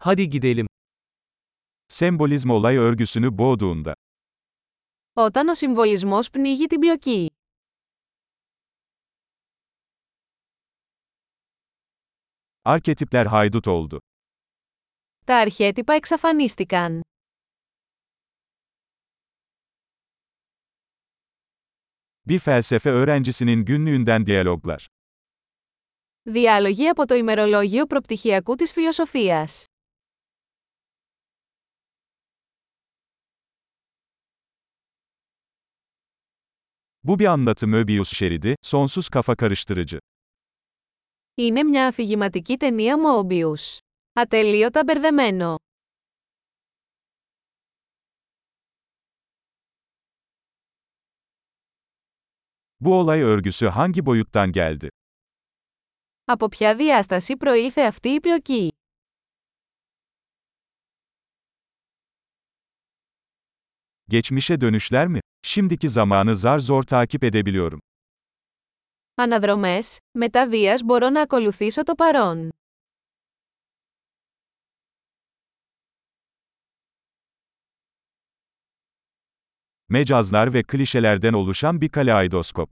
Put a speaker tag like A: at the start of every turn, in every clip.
A: Hadi gidelim. Sembolizm olay örgüsünü boğduğunda.
B: Όταν ο συμβολισμός πνίγει την πλοκή.
A: Arketipler haydut oldu.
B: Τα αρχέτυπα εξαφανίστηκαν.
A: Bir felsefe öğrencisinin günlüğünden diyaloglar.
B: Διάλογοι από το ημερολόγιο προπτυχιακού της φιλοσοφίας.
A: Bu bir anlatı Möbius şeridi, sonsuz kafa karıştırıcı.
B: Είναι μια αφηγηματική ταινία Mobius. Ατελείωτα μπερδεμένο.
A: Bu olay örgüsü hangi boyuttan geldi?
B: Από ποια διάσταση προήλθε αυτή η πλοκή.
A: Geçmişe dönüşler mi? Şimdiki zamanı zar zor takip edebiliyorum.
B: Αναδρομές, μετά βίας μπορώ να ακολουθήσω το παρόν.
A: Mecazlar ve klişelerden oluşan bir kaleidoskop.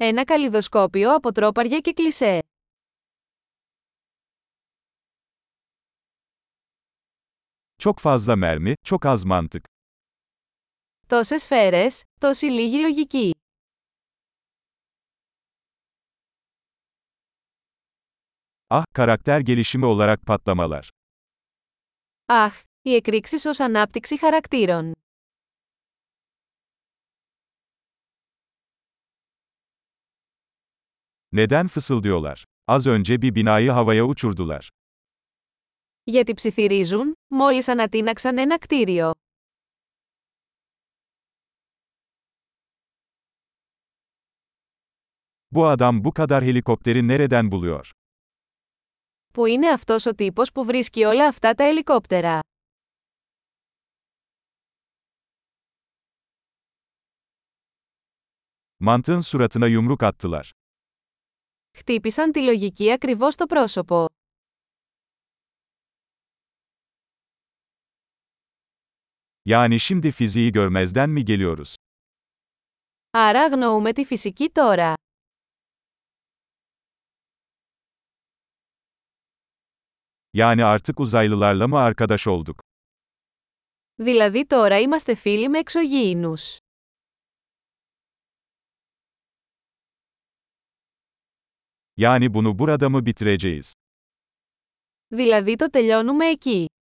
B: Ένα καλλιδοσκόπιο από τρόπαρια και κλισέ.
A: Çok fazla mermi, çok az mantık.
B: Τόσες σφαίρες, τόση λίγη λογική.
A: Ah, karakter gelişimi olarak patlamalar.
B: Αχ, οι εκρήξεις ως ανάπτυξη χαρακτήρων.
A: Neden fısıldıyorlar? Az önce bir binayı havaya uçurdular.
B: Γιατί ψιθυρίζουν, μόλις ανατείναξαν ένα κτίριο.
A: Bu adam bu kadar helikopteri nereden buluyor?
B: Που είναι αυτός ο τύπος που βρίσκει όλα αυτά τα ελικόπτερα.
A: Mantığın suratına yumruk attılar.
B: Χτύπησαν τη λογική ακριβώς στο πρόσωπο.
A: Yani şimdi fiziği görmezden mi geliyoruz?
B: Άρα αγνοούμε τη φυσική τώρα.
A: Yani artık uzaylılarla mı arkadaş olduk?
B: Δηλαδή τώρα είμαστε φίλοι με εξωγήινους.
A: Yani bunu burada mı bitireceğiz?
B: Δηλαδή το τελειώνουμε εκεί.